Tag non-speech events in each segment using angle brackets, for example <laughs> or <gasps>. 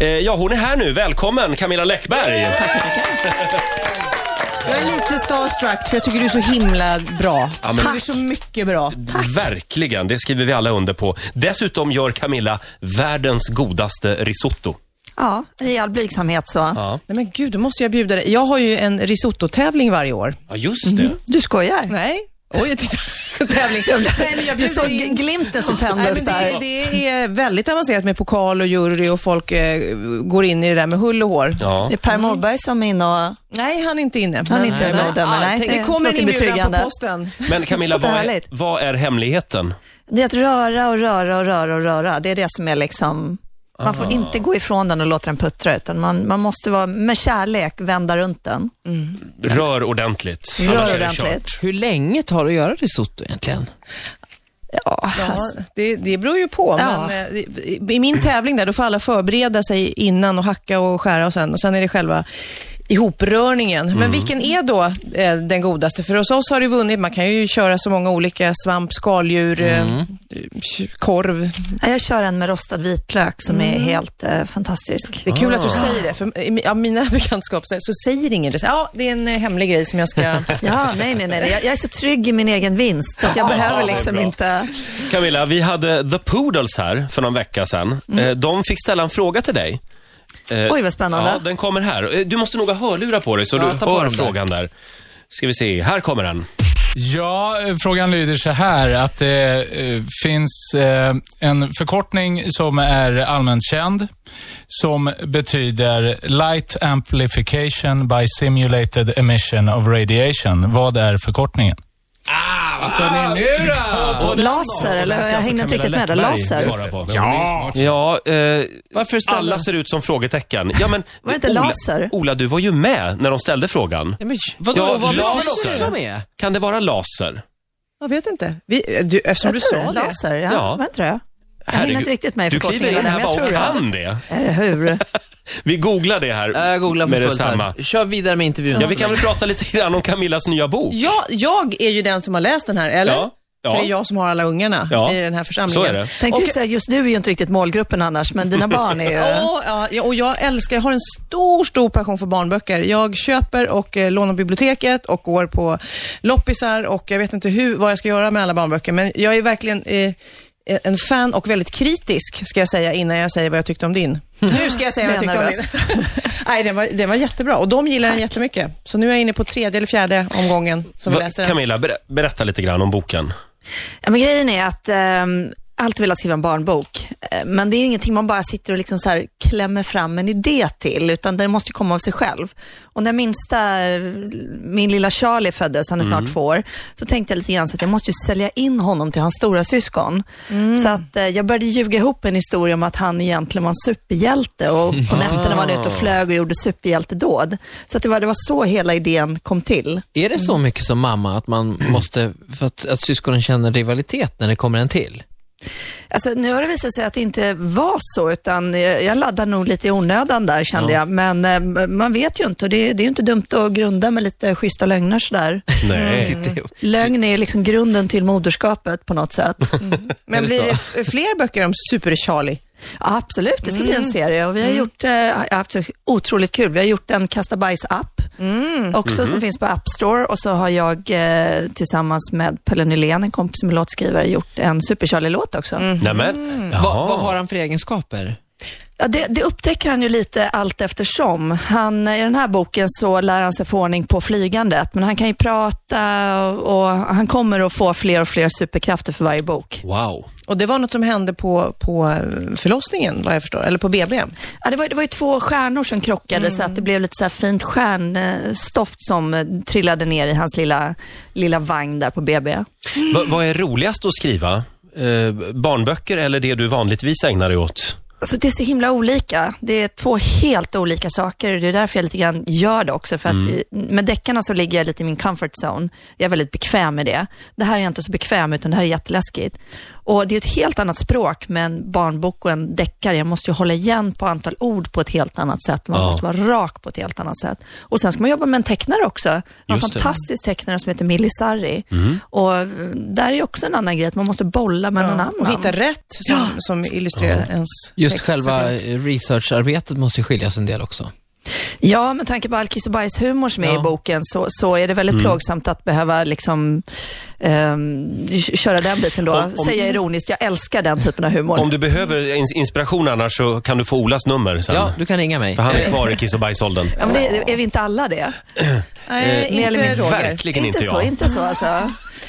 Eh, Ja, hon är här nu. Välkommen Camilla Läckberg. Jag är lite starstruck för jag tycker du är så himla bra. men- du är så mycket bra. Verkligen, det skriver vi alla under på. Dessutom gör Camilla världens godaste risotto. Ja, i all blygsamhet så. Nej men gud, då måste jag bjuda dig. Jag har ju en risotto-tävling varje år. Ja, just det. Du skojar? Nej? Oj, titta. <laughs> Tävling. Nej, men jag Du bjuder såg in... glimten som Nej, tändes men det, där. det är väldigt avancerat med pokal och jury och folk eh, går in i det där med hull och hår. Ja. Det är Per Morberg som är inne och... Nej, han är inte inne. är inte med och dömer, nej. tänk, det Det kommer en låter inbjudan på betryggande. posten. Men <laughs> Camilla, vad är, Härligt. vad är hemligheten? Det är att röra och röra och röra och röra. Det är det som är liksom... Man Ah. får inte gå ifrån den och låta den puttra, utan man, man måste vara med kärlek vända runt den. Rör ordentligt. annars Rör är det kört. ordentligt. Hur länge tar det att göra risotto egentligen? Ja, Ja, alltså, det, det beror ju på. Ja. Men, eh, i- I min tävling där, då får alla förbereda sig innan och hacka och skära och sen, och sen är det själva ihoprörningen. Mm. Men vilken är då eh, den godaste? För hos oss har du vunnit. Man kan ju köra så många olika svamp, skaldjur, Mm. eh, korv. ja, jag kör en med rostad vitlök som är helt eh, fantastisk. Det är kul att Ah. du säger det, för i mi- av mina <laughs> bekantskap så- så säger ingen det. Så, Ja, det är en eh, hemlig grej som jag <laughs> ska... Ja, nej, nej, nej. Jag, jag är så trygg i min egen vinst, så att jag det är behöver liksom bra. inte... Camilla, vi hade The Poodles här för någon vecka sedan. Mm. Eh, De fick ställa en fråga till dig. Eh, Oj, vad spännande. Ja, den kommer här. Eh, Du måste nog ha hörlurar på dig så Ja, du ta på hör dem där. frågan där. Ska vi se, här kommer den. Ja, eh, frågan lyder så här att det eh, finns eh, en förkortning som är allmänt känd som betyder Light Amplification by Simulated Emission of Radiation. Vad är förkortningen? Vad sa ni nu då? Laser, eller? Jag hängde inte riktigt med där. Laser. Svara på. Ja. Ja, eh, Varför ställa- alla ser ut som frågetecken. Ja, men, Var det inte Ola, laser? Ola, du var ju med när de ställde frågan. Nej, men, vadå, Ja, vad laser. betyder det som är? Kan det vara laser? Jag vet inte. Vi, eh, du, eftersom Jag du tror sa det. det. Laser, ja. Ja. Var det inte det? Jag hinner inte riktigt med i Du kliver in förkortningarna, här men jag bara tror och det. kan det. Eller hur? Vi googlar det här Jag googlar för med Äh, fullt detsamma. här. Kör vidare med intervjun. Ja, vi kan väl prata lite grann om Camillas nya bok. Ja, jag är ju den som har läst den här, eller? Ja, ja. För det är jag som har alla ungarna Ja, i den här församlingen. så är det. <laughs> Tänkte ju säga, just du är ju inte riktigt målgruppen annars, men dina barn är ju... Ja, ja, ja, och jag älskar, jag har en stor, stor passion för barnböcker. Jag köper och eh, lånar biblioteket och går på loppisar och jag vet inte hur, vad jag ska göra med alla barnböcker, men jag är verkligen eh, en fan och väldigt kritisk, ska jag säga, innan jag säger vad jag tyckte om din. Nu ska jag säga vad jag Jag tyckte om är din. <laughs> Nej, den var, den var jättebra och de gillar den jättemycket. Så nu är jag inne på tredje eller fjärde omgången som vi Va, läser den. Camilla, ber, berätta lite grann om boken. Ja, men grejen är att ehm, alltid velat skriva en barnbok, eh, men det är ju ingenting man bara sitter och liksom så här klämmer fram en idé till, utan den måste ju komma av sig själv. Och när minsta, eh, min lilla Charlie föddes, han är snart två år, så tänkte jag lite grann så att jag måste ju sälja in honom till hans stora syskon. Så att eh, jag började ljuga ihop en historia om att han egentligen var en superhjälte och på nätterna var han ute och flög och gjorde superhjältedåd. Så att det, var, det var så hela idén kom till. Är det så mycket som mamma att man Mm. måste, för att, att syskonen känner rivalitet när det kommer en till? Alltså, nu har det visat sig att det inte var så, utan eh, jag laddar nog lite i onödan där kände jag. Men eh, man vet ju inte och det, det är ju inte dumt att grunda med lite schyssta lögner sådär. Nej. Mm. <laughs> Lögn är liksom grunden till moderskapet på något sätt. Men Är det blir det så? f- fler böcker om Super-Charlie? Ja, absolut, det ska bli en serie och vi har gjort, eh, jag har haft så otroligt kul. Vi har gjort en Kasta bajs-app också som finns på App Store och så har jag eh, tillsammans med Pelle Nylén, en kompis som är låtskrivare, gjort en Super-Charlie-låt också. Mhm. Mm. Nämen. Ja. Vad, vad har han för egenskaper? Ja, det, det upptäcker han ju lite allt eftersom. Han, I den här boken så lär han sig få ordning på flygandet, men han kan ju prata och, och han kommer att få fler och fler superkrafter för varje bok. Wow. Och det var något som hände på, på eh, förlossningen, vad jag förstår, eller på BB. Ja, det, var, det var ju två stjärnor som krockade så att det blev lite så här fint stjärnstoft som eh, trillade ner i hans lilla, lilla vagn där på BB. Va, vad är roligast att skriva? Eh, barnböcker eller det du vanligtvis ägnar dig åt? Alltså det är så himla olika. Det är två helt olika saker. Det är därför jag lite grann gör det också. För att Mm. i- med deckarna så ligger jag lite i min comfort zone. Jag är väldigt bekväm med det. Det här är jag inte så bekväm utan det här är jätteläskigt. Och det är ett helt annat språk med en barnbok och en deckare. Jag måste ju hålla igen på antal ord på ett helt annat sätt. Man Ja. måste vara rak på ett helt annat sätt. Och sen ska man jobba med en tecknare också. Jag har En Just det. Mm. fantastisk tecknare som heter Millie Sarri. Och eh, där är också en annan grej, att man måste bolla med någon annan. Och hitta rätt som, som illustrerar ens just text för själva bok. eh, researcharbetet måste ju skiljas en del också. Ja, med tanke på all kiss och bajshumor som är Ja. i boken så, så är det väldigt Mm. plågsamt att behöva liksom, ehm, k- köra den biten då. Om- om- Säga ironiskt, jag älskar den typen av humor. Om du behöver ins- inspiration annars så kan du få Olas nummer sen. Ja, du kan ringa mig. För han är kvar i kiss och bajsåldern. Ja, men det, är vi inte alla det? Nej, eh, mer eller inte mindre. Roger. Verkligen inte, så, jag. inte så alltså.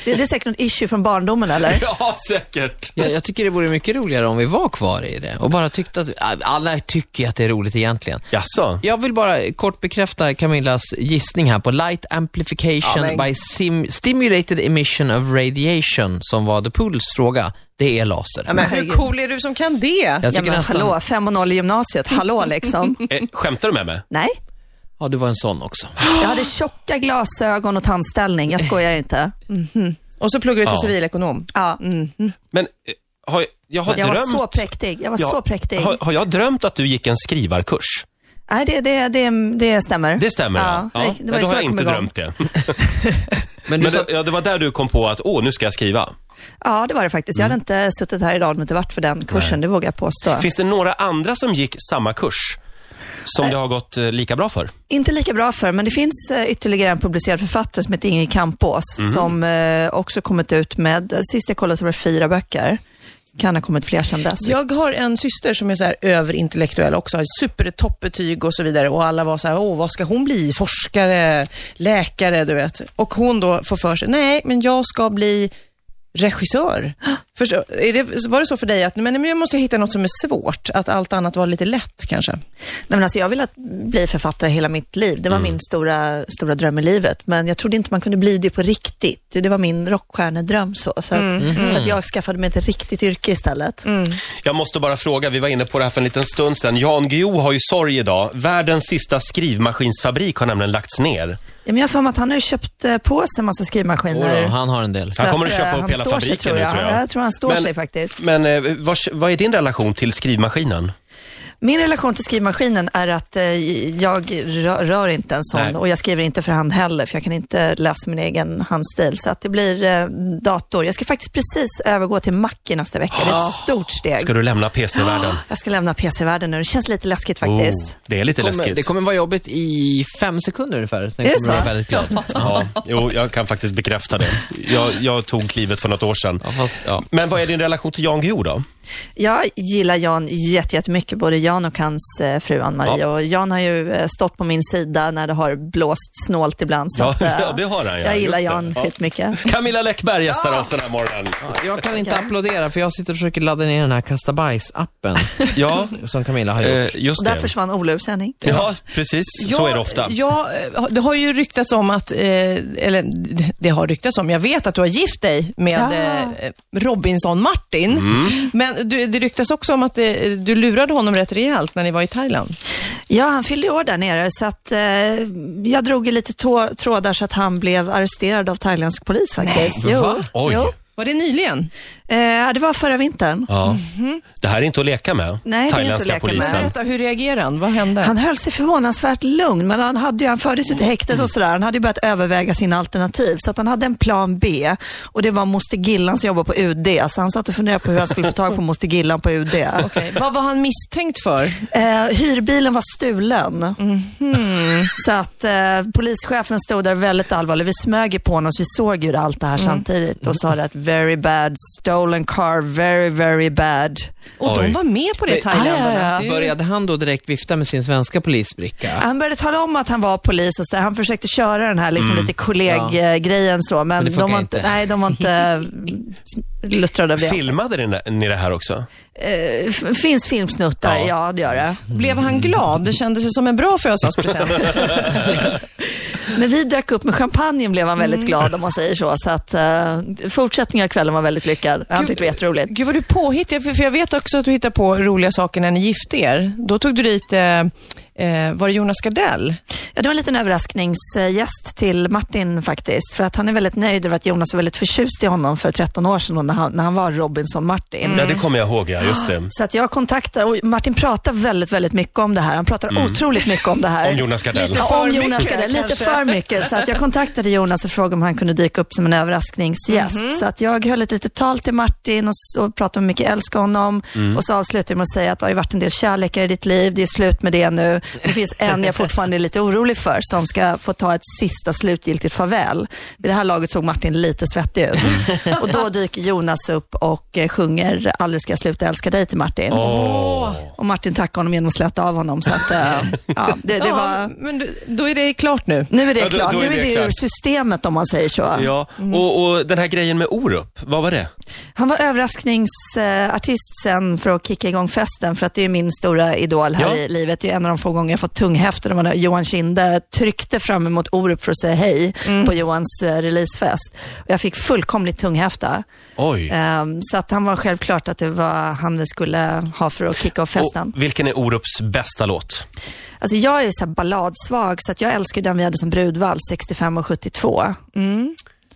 Det, det är säkert något issue från barndomen eller? <laughs> Ja, säkert. Jag, jag tycker det vore mycket roligare om vi var kvar i det och bara tyckte att, alla tycker ju att det är roligt egentligen. Jaså? Jag vill bara kort bekräfta Camillas gissning här på Light Amplification Ja, men- by sim- Stimulated Emission of Radiation, som var The Poodles fråga. Det är laser. Ja, men hur cool är du som kan det? jag Ja, tycker men nästan... hallå, 5 och 0 i gymnasiet, hallå <laughs> liksom. Eh, skämtar du med mig? Nej, Ja, du var en sån också. jag hade tjocka glasögon och tandställning, jag skojar inte. Och så pluggar du till Ja. civilekonom. Ja. Men eh, har, jag- jag har Jag var drömt... så präktig, jag var Ja, så präktig. Har, har jag drömt att du gick en skrivarkurs? Nej, det, det, det, det stämmer. Det stämmer, ja. det, det var ju då så har jag jag kom inte igång. drömt det. Men du Men sa det, ja, det var där du kom på att, åh, nu ska jag skriva. Ja, det var det faktiskt. Jag hade inte suttit här idag om det inte varit för den kursen, det vågar jag påstå. Finns det några andra som gick samma kurs? Som det har gått eh, lika bra för? Inte lika bra för, men det finns eh, ytterligare en publicerad författare som heter Ingrid Campås som eh, också kommit ut med, sist jag kollade så var det fyra böcker. Kan ha kommit fler sedan dess. Jag har en syster som är så här överintellektuell också, har supertoppbetyg och så vidare och alla var så här, åh vad ska hon bli? Forskare, läkare, du vet. Och hon då får för sig, nej men jag ska bli regissör. Förstå, är det, var det så för dig att, men men jag måste hitta något som är svårt, att allt annat var lite lätt kanske? Nej, men alltså, jag har velat bli författare hela mitt liv. Det var min stora, stora dröm i livet. Men jag trodde inte man kunde bli det på riktigt. Det var min rockstjärnedröm. Så, så, att, så att jag skaffade mig ett riktigt yrke istället. Jag måste bara fråga, vi var inne på det här för en liten stund sedan. Jan Guillou har ju sorg idag. Världens sista skrivmaskinsfabrik har nämligen lagts ner. Ja, men jag har för mig att han har ju köpt eh, på sig en massa Oj skrivmaskiner. då, han har en del. Så Han kommer att, att köpa eh, upp han hela står sig, fabriken tror nu, jag. tror jag. Jag tror han står Men- sig faktiskt. Men eh, vad, vad är din relation till skrivmaskinen? Min relation till skrivmaskinen är att eh, jag rör, rör inte en sån Nej. och jag skriver inte för hand heller för jag kan inte läsa min egen handstil. Så att det blir eh, dator. Jag ska faktiskt precis övergå till Mac i nästa vecka. Det är ett stort steg. Ah. Ska du lämna <gasps> PC-världen? Jag ska lämna PC-världen nu. Det känns lite läskigt Oh, faktiskt. det är lite Kommer, läskigt. det kommer vara jobbigt i fem sekunder ungefär, sen Är det kommer du vara så? väldigt glad. Ja, <laughs> jo, jag kan faktiskt bekräfta det. Jag, jag tog klivet för något år sedan. Ja, fast, ja. Men vad är din relation till Jan Guillou då? Jag gillar Jan jätte- jättemycket, både Jan och hans eh, fru Ann-Marie. Och Jan har ju eh, stått på min sida när det har blåst snålt ibland. Så Ja, att, eh, <laughs> ja, det har han, ja. Jag gillar Just det. Jan Ja. skitmycket. Camilla Läckberg gästar oss den här morgonen. Jag kan inte applådera, för jag sitter och försöker ladda ner den här kasta bajs-appen Ja, som Camilla har gjort. eh, just Och där det. försvann Ola ur sändning. Ja, precis. Så är det ofta. Ja, det har ju ryktats om att, eh, eller det har ryktats om, jag vet att du har gift dig med Ah. eh, Robinson-Martin. Mm. Men du, det ryktas också om att eh, du lurade honom rätt rejält när ni var i Thailand. Ja, han fyllde ju år där nere så att eh, jag drog i lite tå- trådar så att han blev arresterad av thailändsk polis faktiskt. Nej, jo. va? Oj. Jo. Var det nyligen? Eh, det var förra vintern. Ja. Det här är inte att leka med. Nej, det är inte Thailändska att leka med. polisen. Berätta, hur reagerade han? Vad hände? Han höll sig förvånansvärt lugn, men han, hade ju, han fördes ju till häktet och sådär. Han hade ju börjat överväga sina alternativ, så att han hade en plan B. Och det var moster Gillan som jobbar på UD, så han satt och funderade på hur han skulle få tag på moster Gillan på UD. Okej, Vad var han misstänkt för? Eh, hyrbilen var stulen. Mhm. Så att eh, polischefen stod där väldigt allvarlig. Vi smög ju på honom, så vi såg ju allt det Mm. här samtidigt och sa det att very bad, stolen car, very, very bad. Och Oj. de var med på det, Men- thailändarna. Ah, ja, ja. Det är ju- Började han då direkt vifta med sin svenska polisbricka? Han började tala om att han var polis och så där. Han försökte köra den här liksom, lite kolleggrejen så, men, Mm. det funkar de var inte. inte, nej, de var inte eh, luttrade av det. Filmade ni- ni det här också? Eh, f- finns filmsnuttar, Ja. ja. det gör det. Blev han glad? Det kändes ju som en bra födelsedagspresent. När vi dök upp med champagnen blev han Mm. väldigt glad om man säger så. Så att eh, fortsättningen av kvällen var väldigt lyckad. Han tyckte det var jätteroligt. Gud vad du påhittig, för, för jag vet också att du hittar på roliga saker när ni gifte er. Då tog du dit, eh, eh, var det Jonas Gardell? Ja, det var en liten överraskningsgäst till Martin faktiskt. För att han är väldigt nöjd över att Jonas var väldigt förtjust i honom för 13 år sedan då, när han, när han var Robinson-Martin. Ja, det kommer jag ihåg, ja. Just det. Så att jag kontaktar, och Martin pratar väldigt, väldigt mycket om det här. Han pratar otroligt mycket om det här. Mm. Om Jonas Gardell. Lite- Ja, om För Jonas mycket, Gardell, lite kanske. för mycket. Så att jag kontaktade Jonas och frågade om han kunde dyka upp som en överraskningsgäst. Mhm. Så att jag höll ett litet tal till Martin och, s- och pratade om hur mycket jag älskar honom. Mm. Och så avslutade jag med att säga att det har ju varit en del kärlekar i ditt liv, det är slut med det nu. Det finns en jag fortfarande är lite orolig för som ska få ta ett sista slutgiltigt farväl. Vid det här laget såg Martin lite <laughs> svettig ut. Och då dyker Jonas upp och eh, sjunger Aldrig ska jag sluta älska dig till Martin. Åh. Och Martin tackade honom genom att släta av honom. Så att, eh, ja, det, det ja, var... men du- då är det klart nu. Nu är det Ja, då- klart. då är nu det är det klart. ur systemet om man säger så. Ja, Mm. och, och den här grejen med Orup, vad Eh, var det? Han var överraskningsartist sen för att kicka igång festen, för att det är min stora idol här Ja. i livet. Det är en av de få gånger jag fått tunghäften när Johan Kinde tryckte fram emot Orup för att säga hej Mm. på Johans eh, releasefest. Och jag fick fullkomligt tunghäfta. Oj. Ehm, så att han var självklart att det var han vi skulle ha för att kicka av festen. Och vilken är Orups bästa låt? Alltså jag är ju så här balladsvag, så att jag älskar den vi hade som brudvals, 65 och 72. Mm.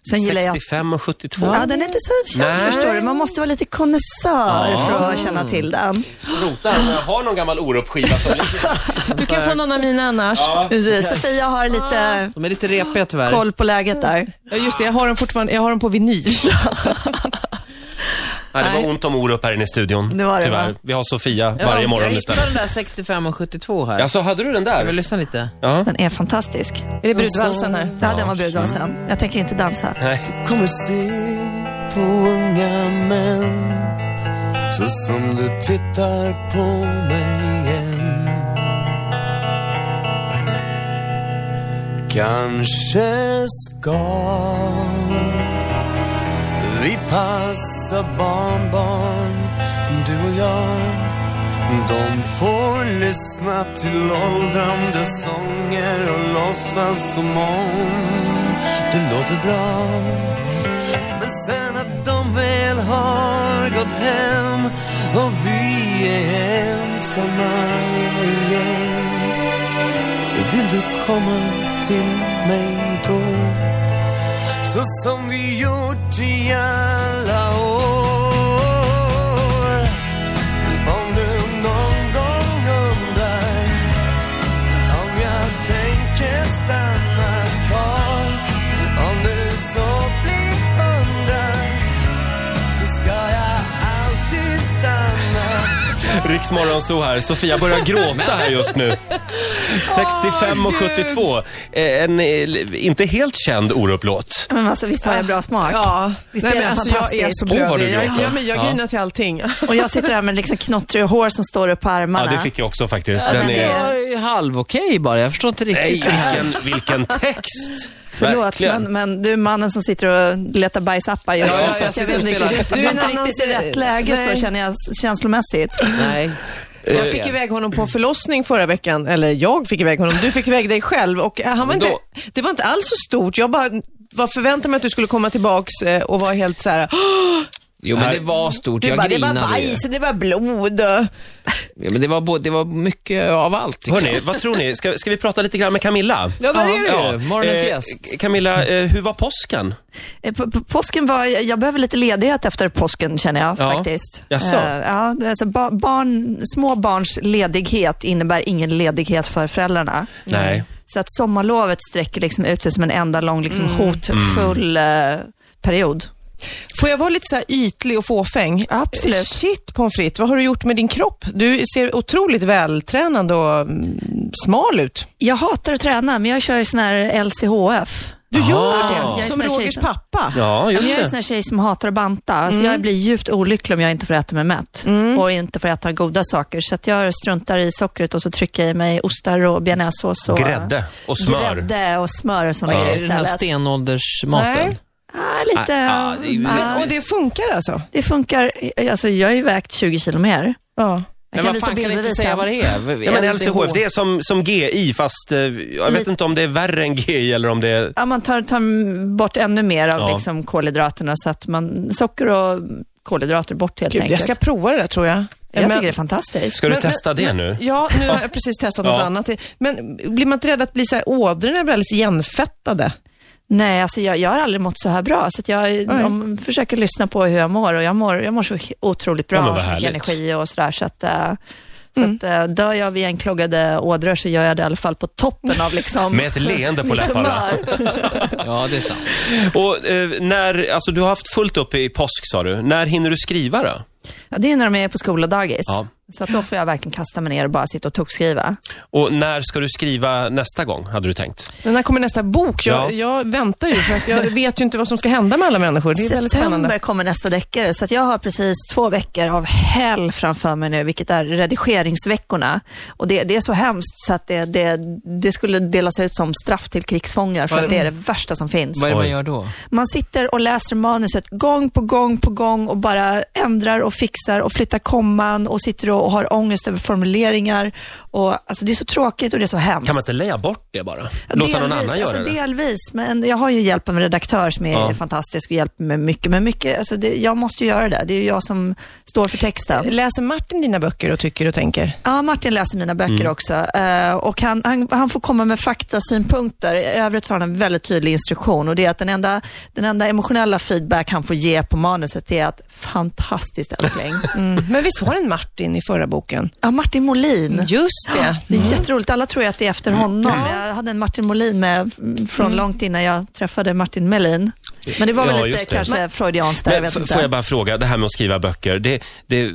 Sen gillar jag 65 och 72. Ja, den är inte så känd Nej. förstår du. Man måste vara lite konnässör för att känna till den. Rotar, jag har någon gammal Orup-skiva som ligger. Du kan få någon av mina annars. Ja. Precis. Sofia har lite De är lite repiga tyvärr. koll på läget där. Just det, jag har dem fortfarande, jag har dem på vinyl. Nej, det var Nej. ont om Orup här inne i studion. Det var det, Tyvärr. va? Vi har Sofia varje morgon jag hittade istället. den där 65 och 72 här. Jaså, hade du den Jag vill där? lyssna lite. Ja. Den är fantastisk. är det brudvalsen här? Ja, den var brudvalsen. Jag tänker inte dansa. Nej. kommer se på unga män så som du tittar på mig igen Kanske ska vi passa barnbarn, du och jag de får lyssna till åldrande sånger och låtsas som om det låter bra men sen att de väl har gått hem och vi är ensamma igen Vill du komma till mig då? Så som vi gjort i alla år Om du någon gång undrar om jag tänker stanna kvar Om du så blir undrad Så ska jag alltid stanna Riksmorgon så här. Sofia börjar gråta här just nu. 65 och 72. Eh, En eh, inte helt känd Orup-låt. Men alltså, visst har jag bra smak? Ja, Visst Nej, är men den alltså jag fantastisk? är så Åh, vad du blödig. jag, gråter. ja, men jag Ja. grinar till allting. Och jag sitter här med liksom knottriga hår som står upp på Ja, armarna. det fick jag också faktiskt. Alltså, Den det är... var ju halvokej bara. Jag förstår inte Nej, riktigt det här. vilken, vilken text! Förlåt, Verkligen. men, men du är mannen som sitter och letar bajsappar just Ja, nu. ja, så jag att sitter jag vet och inte spelar. riktigt. Du är Du är en inte annan riktigt i sida. rätt läge så Nej. känner jag s- känslomässigt. Nej. Eh, Jag fick iväg honom på förlossning förra veckan, eller jag fick iväg honom, du fick iväg dig själv. Och eh, han var Men inte, då- det var inte alls så stort. Jag bara var förväntade mig att du skulle komma tillbaks eh, och vara helt så här. "Åh!" Jo, men det var stort. Du Jag bara, det var grinade ju. bajs, det var blod. och- Ja, men det var, både, det var mycket av allt. tycker jag. Hörni, vad tror ni? Ska, ska vi prata lite grann med Camilla? Ja, där är det ju. Morgonens Eh, gäst. Camilla, eh, hur var påsken? Eh, på- på- Påsken var, jag behöver lite ledighet efter påsken känner jag Ja. faktiskt. Jaså? Eh, ja, alltså ba- barn, små barns ledighet innebär ingen ledighet för föräldrarna. Nej. Så att sommarlovet sträcker liksom ut sig som en enda lång liksom, Mm. hotfull eh, period. Får jag vara lite så här ytlig och fåfäng? Absolut. Shit pommes frites, vad har du gjort med din kropp? Du ser otroligt vältränad och mm, smal ut. Jag hatar att träna, men jag kör ju sån här LCHF. Du gör det, Jag som är sån här tjej Rogers som- pappa. Ja, Men just Alltså, jag är en det. sån här tjej som hatar att banta. Alltså Jag blir djupt olycklig om jag inte får äta mig mätt och inte får äta goda saker. Så att jag struntar i sockret och så trycker jag i mig ostar och bearnaisesås. Och, Grädde och smör. Grädde och smör och sådana Är grejer det den här istället. stenåldersmaten? Nej. Ah, lite, ah, Men, och det funkar alltså? det funkar. Alltså, jag är ju vägt 20 kilo mer. Ja. Jag Men vad fan, kan ni inte bildbevis säga sen. vad det är? Ja, men LCHF, det är som, som GI fast eh, jag vet Lite- inte om det är värre än GI eller om det är... Ja, man tar, tar bort ännu mer av Ja. liksom, kolhydraterna så att man, socker och kolhydrater bort helt Gud, jag enkelt. ska prova det där tror jag. Jag Men- tycker det är fantastiskt. Ska du Men- testa men, det men- nu? Ja, nu har jag precis testat något Eh. <laughs> Ja. annat. Men blir man inte rädd att bli så här, ådrorna är väl alldeles igenfettade? Nej, alltså jag, jag har aldrig mått så här bra. Så att jag Nej. om, försöker lyssna på hur jag mår och jag mår, jag mår så otroligt bra. Ja, men vad och härligt. Mm. energi och sådär. Så att, eh, så att, eh, dör jag vid enkloggade ådror så gör jag det i alla fall på toppen av liksom, <laughs> Med ett leende på <laughs> mitt läpparna. humör. Ja, det är sant. Och eh, när, alltså du har haft fullt upp i påsk sa du. När hinner du skriva då? Ja, det är när de är på skola och dagis. Ja. Så att då får jag verkligen kasta mig ner och bara sitta och tuggskriva. Och när ska du skriva nästa gång, hade du tänkt? Men när kommer nästa bok? Ja. Jag, jag väntar ju för att jag vet ju inte vad som ska hända med alla människor. Det är väldigt spännande. September kommer nästa deckare, så att jag har precis två veckor av hell framför mig nu, vilket är redigeringsveckorna. Och det, det är så hemskt så att det, det, det skulle delas ut som straff till krigsfångar, för Vad- att det är det värsta som finns. Vad är det man Oj. gör då? Man sitter och läser manuset gång på gång på gång och bara ändrar och fixar och flyttar komman och sitter och har ångest över formuleringar. Och, alltså, det är så tråkigt och det är så hemskt. Kan man inte lägga bort det bara? Låta någon annan göra alltså, det? Delvis, men jag har ju hjälp av en redaktör som är Ja. fantastisk och hjälper mig mycket. Men mycket, alltså det, jag måste ju göra det. Det är ju jag som står för texten. Läser Martin dina böcker och tycker och tänker? Ja, Martin läser mina böcker Mm. också eh, och han, han, han får komma med faktasynpunkter. I övrigt så har han en väldigt tydlig instruktion och det är att den enda, den enda emotionella feedback han får ge på manuset är att fantastiskt <laughs> älskling. Mm. Men visst var det en Martin i förra boken? Ja, Martin Molin. Just det. Det är Mm. jätteroligt. Alla tror ju att det är efter honom. Jag hade en Martin Molin med mm, från långt innan jag träffade Martin Melin. Men det var väl Ja, lite just det. kanske freudianskt där, jag Men vet f- inte. får jag bara fråga, det här med att skriva böcker. Det, det, eh,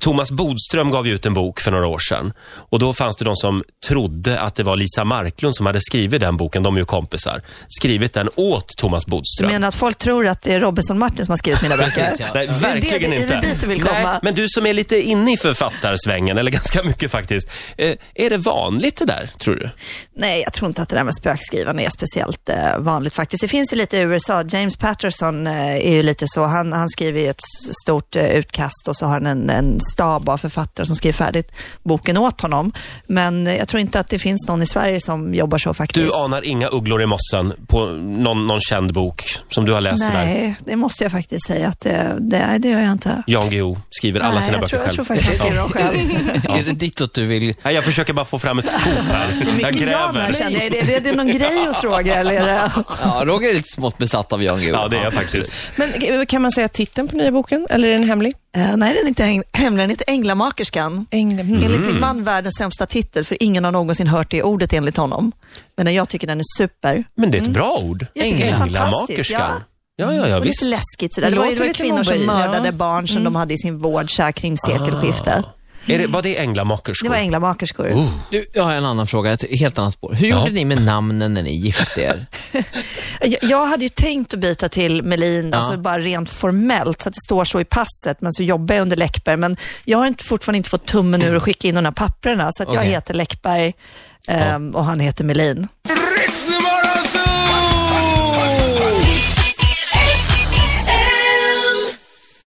Thomas Bodström gav ju ut en bok för några år sedan. Och då fanns det de som trodde att det var Lisa Marklund som hade skrivit den boken. De är ju kompisar. Skrivit den åt Thomas Du Bodström. menar att folk tror att det är Robinson Martin som har skrivit mina böcker? Precis, ja. Nej, det- verkligen är det inte. dit du vill komma? Nej, men du som är lite inne i författarsvängen, eller ganska mycket faktiskt. Eh, är det vanligt det där, tror du? Nej, jag tror inte att det där med spökskrivande är speciellt eh, vanligt faktiskt. Det finns ju lite i USA. James Patterson eh, är ju lite så. Han, han skriver ju ett s- stort eh, utkast och så har han en, en stab av författare som skriver färdigt boken åt honom. Men eh, jag tror inte att det finns någon i Sverige som jobbar så faktiskt. Du anar inga ugglor i mossen på någon, någon känd bok som du har läst? Där. Nej, det måste jag faktiskt säga att det, det, det gör jag inte. Jan Guillou skriver alla Nej, sina jag böcker tror, själv. Jag tror faktiskt att jag skriver dem själv. Är det ditåt du vill? Nej, jag försöker bara få fram ett skop <laughs> här. Jag Mycket gräver. Janar känner jag. Är det, är det någon grej hos Roger eller? är det- Ja, Roger är lite smått besatt av Jan Guillou. Ja, det är jag faktiskt. Men eh, kan man säga titeln på nya boken? Eller är den hemlig? Eh, nej, den är inte häng- hemlig. Den heter Änglamakerskan. Ängel. Mm. Enligt min man världens sämsta titel, för ingen har någonsin hört det ordet enligt honom. Men jag tycker den är super. Men det är ett bra ord. Mm. Jag tycker det är fantastiskt, Änglamakerskan. Ja, ja, ja, Och visst. lite läskigt sådär. Det Det var ju låter det var lite kvinnor som mobbigt, mördade ja. Mm. barn som de hade i sin vård så här kring sekelskiftet. Ah, Är det, var det Det änglamakerskor? var änglamakerskor. Oh. Du, jag har en annan fråga, ett helt annat spår. Hur gjorde ni med namnen när ni gifte er? Jag, jag hade ju tänkt att byta till Melin, Ja. alltså bara rent formellt, så att det står så i passet, men så jobbar jag under Läckberg. Men jag har inte, fortfarande inte fått tummen ur och skicka in de här papperna, så att jag Okej. heter Läckberg ehm, och han heter Melin.